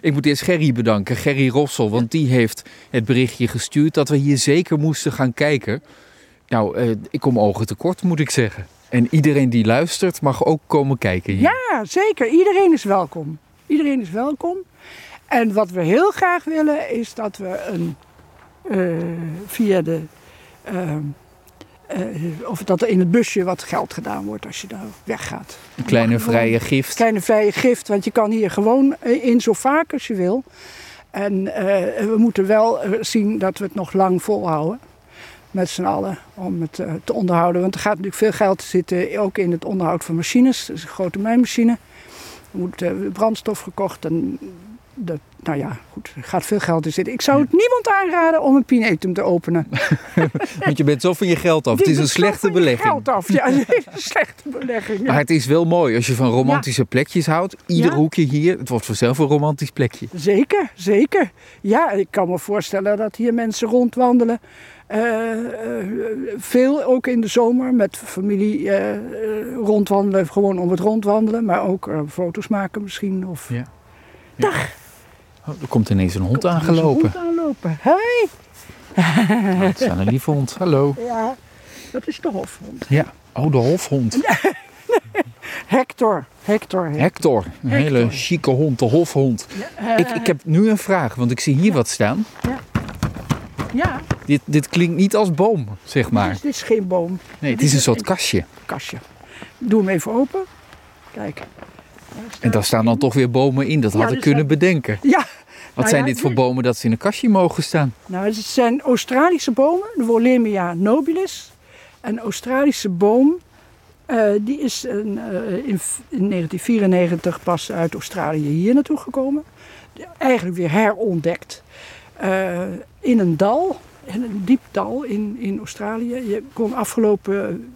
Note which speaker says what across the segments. Speaker 1: Ik moet eerst Gerry bedanken, Gerry Rossel. Want die heeft het berichtje gestuurd dat we hier zeker moesten gaan kijken. Nou, eh, ik kom ogen tekort, moet ik zeggen. En iedereen die luistert mag ook komen kijken hier.
Speaker 2: Ja, zeker. Iedereen is welkom. Iedereen is welkom. En wat we heel graag willen is dat we een, eh, via de. ehm, eh, of dat er in het busje wat geld gedaan wordt als je daar weggaat.
Speaker 1: Een kleine vrije gift.
Speaker 2: Kleine vrije gift, want je kan hier gewoon eh, in zo vaak als je wil. En eh, we moeten wel eh, zien dat we het nog lang volhouden. Met z'n allen om het eh, te onderhouden. Want er gaat natuurlijk veel geld zitten ook in het onderhoud van machines. Dus een grote mijnmachine. Er moet eh, brandstof gekocht. En dat, nou ja, goed, er gaat veel geld in zitten. Ik zou het niemand aanraden om een pinetum te openen.
Speaker 1: Want je bent zo van je geld af. Het
Speaker 2: Die
Speaker 1: is een
Speaker 2: doet zo van
Speaker 1: slechte
Speaker 2: je
Speaker 1: belegging.
Speaker 2: Geld af. Ja, het is een slechte belegging. ja.
Speaker 1: Maar het is wel mooi als je van romantische plekjes houdt. Ieder
Speaker 2: Ja.
Speaker 1: hoekje hier, het wordt vanzelf een romantisch plekje.
Speaker 2: Zeker, zeker. Ja, ik kan me voorstellen dat hier mensen rondwandelen. Eh, eh, veel ook in de zomer met familie eh, eh, rondwandelen, gewoon om het rondwandelen, maar ook eh, foto's maken misschien. Of
Speaker 1: Ja. Oh, er komt ineens een hond aangelopen.
Speaker 2: Goed aanlopen. Hè?
Speaker 1: Nou, het is wel een lieve hond. Hallo.
Speaker 2: Ja, dat is de hofhond.
Speaker 1: Ja. Oh, de hofhond.
Speaker 2: Hector, Hector. heet.
Speaker 1: Hector. Een hele chique hond, de hofhond. Ik, ik heb nu een vraag, want ik zie hier wat staan.
Speaker 2: Ja,
Speaker 1: Dit, dit klinkt niet als boom, zeg maar.
Speaker 2: dus dit is geen boom,
Speaker 1: Nee, het is een soort kastje.
Speaker 2: kastje. Doe hem even open. Kijk.
Speaker 1: En daar staan dan toch weer bomen in. Dat had ik
Speaker 2: dus
Speaker 1: kunnen bedenken.
Speaker 2: Ja.
Speaker 1: Wat
Speaker 2: Nou
Speaker 1: zijn
Speaker 2: ja,
Speaker 1: dit voor
Speaker 2: dit-
Speaker 1: bomen dat ze in een kastje mogen staan?
Speaker 2: Nou, het zijn Australische bomen, de Wollemia nobilis. Een Australische boom, eh, die is een, eh, in, v- in 1994 pas uit Australië hier naartoe gekomen. Eigenlijk weer herontdekt. Eh, in een dal, in een diep dal in, in Australië. Je kon afgelopen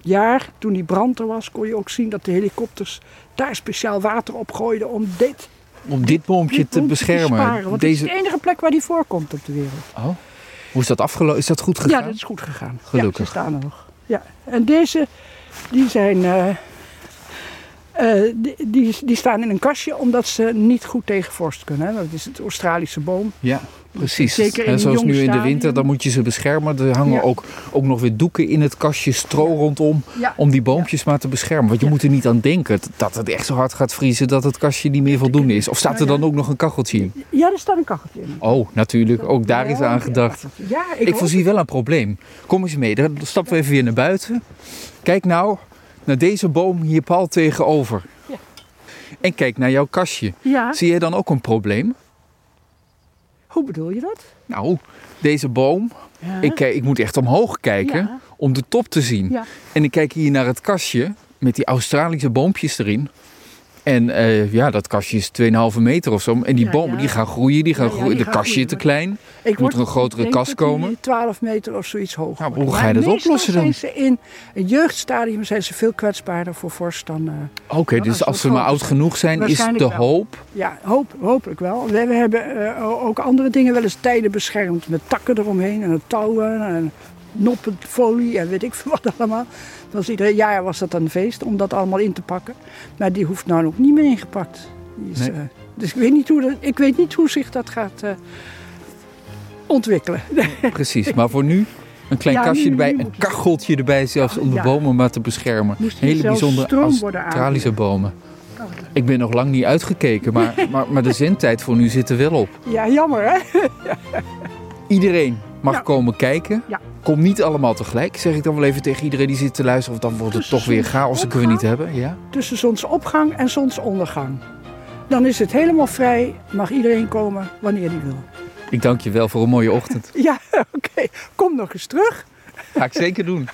Speaker 2: jaar, toen die brand er was, kon je ook zien dat de helikopters daar speciaal water op gooiden om dit
Speaker 1: Om dit boompje
Speaker 2: dit
Speaker 1: te
Speaker 2: boom besparen,
Speaker 1: beschermen.
Speaker 2: Want dit is
Speaker 1: Deze...
Speaker 2: de enige plek waar die voorkomt op de wereld.
Speaker 1: Oh. Hoe is dat afgelopen? Is dat goed gegaan?
Speaker 2: Ja, dat is goed gegaan.
Speaker 1: Gelukkig.
Speaker 2: Ja, ze staan er nog. Ja. En deze, die zijn... eh, eh, die, die, die staan in een kastje omdat ze niet goed tegen vorst kunnen. Hè? Dat is het Australische boom.
Speaker 1: Ja, precies.
Speaker 2: Zeker in
Speaker 1: en
Speaker 2: een
Speaker 1: zoals
Speaker 2: jong
Speaker 1: nu in de
Speaker 2: stadium.
Speaker 1: winter, dan moet je ze beschermen. Er hangen
Speaker 2: Ja.
Speaker 1: ook, ook nog weer doeken in het kastje, stro rondom,
Speaker 2: Ja.
Speaker 1: om die boompjes maar te beschermen. Want je moet er niet aan denken t- dat het echt zo hard gaat vriezen dat het kastje niet meer voldoende is. Of staat er
Speaker 2: Nou ja.
Speaker 1: dan ook nog een kacheltje in?
Speaker 2: Ja, daar staat een kacheltje in.
Speaker 1: Oh, natuurlijk. Ook daar is
Speaker 2: Ja,
Speaker 1: aan gedacht.
Speaker 2: Ja, ik,
Speaker 1: Ik
Speaker 2: hoop-
Speaker 1: voorzie wel een probleem. Kom eens mee, dan stappen we even weer naar buiten. Kijk nou naar deze boom hier pal tegenover.
Speaker 2: Ja.
Speaker 1: En kijk naar jouw kastje.
Speaker 2: Ja,
Speaker 1: Zie jij dan ook een probleem?
Speaker 2: hoe bedoel je dat?
Speaker 1: Nou, deze boom
Speaker 2: Ja.
Speaker 1: Ik, kijk- ik moet echt omhoog kijken
Speaker 2: Ja.
Speaker 1: om de top te zien.
Speaker 2: Ja.
Speaker 1: En ik kijk hier naar het kastje met die Australische boompjes erin. En eh, ja, dat kastje is 2,5 meter of zo. En die
Speaker 2: Ja,
Speaker 1: bomen
Speaker 2: ja.
Speaker 1: die gaan groeien, die gaan
Speaker 2: Ja, ja,
Speaker 1: groeien.
Speaker 2: die
Speaker 1: de
Speaker 2: gaan
Speaker 1: kastje te klein.
Speaker 2: Ik
Speaker 1: Moet er een grotere
Speaker 2: ik denk
Speaker 1: kast
Speaker 2: dat die
Speaker 1: komen?
Speaker 2: 12 meter of zoiets hoog.
Speaker 1: Nou,
Speaker 2: worden.
Speaker 1: hoe ga je
Speaker 2: Maar
Speaker 1: dat
Speaker 2: meestal
Speaker 1: oplossen dan?
Speaker 2: Zijn ze in een jeugdstadium zijn ze veel kwetsbaarder voor vorst dan... eh,
Speaker 1: Oké, dus
Speaker 2: als
Speaker 1: als
Speaker 2: we
Speaker 1: ze maar
Speaker 2: groot
Speaker 1: oud genoeg zijn, is de
Speaker 2: Waarschijnlijk wel.
Speaker 1: hoop.
Speaker 2: Ja, hoop, hopelijk wel. We, we hebben eh, o- ook andere dingen wel eens tijden beschermd. Met takken eromheen en een touwen en noppenfolie en weet ik veel wat allemaal. Dat was ieder jaar was dat een feest om dat allemaal in te pakken. Maar die hoeft nou ook niet meer ingepakt. Die is,
Speaker 1: Nee.
Speaker 2: eh, dus ik weet, niet hoe dat, ik weet niet hoe zich dat gaat eh, ontwikkelen.
Speaker 1: Precies. Maar voor nu een klein
Speaker 2: Ja,
Speaker 1: kastje
Speaker 2: nu-
Speaker 1: erbij,
Speaker 2: nu
Speaker 1: een
Speaker 2: moet je-
Speaker 1: kacheltje erbij zelfs om de
Speaker 2: Ja.
Speaker 1: bomen maar te beschermen.
Speaker 2: Moest hier
Speaker 1: Hele
Speaker 2: zelfs
Speaker 1: bijzondere
Speaker 2: stroom worden Oh,
Speaker 1: Australische bomen.
Speaker 2: Kan het.
Speaker 1: Ik ben nog lang niet uitgekeken, maar, maar, maar de zendtijd voor nu zit er wel op.
Speaker 2: Ja, jammer hè?
Speaker 1: Iedereen mag
Speaker 2: Ja.
Speaker 1: komen kijken.
Speaker 2: Ja.
Speaker 1: Kom niet allemaal tegelijk, zeg ik dan wel even tegen iedereen die zit te luisteren. Of dan wordt het
Speaker 2: Tussen
Speaker 1: toch weer
Speaker 2: zon-
Speaker 1: chaos, dat kunnen we niet hebben. Ja?
Speaker 2: Tussen zonsopgang en zonsondergang. Dan is het helemaal vrij. Mag iedereen komen wanneer die wil.
Speaker 1: Ik dank je wel voor een mooie ochtend.
Speaker 2: Ja, oké. Kom nog eens terug.
Speaker 1: Ga ik zeker doen.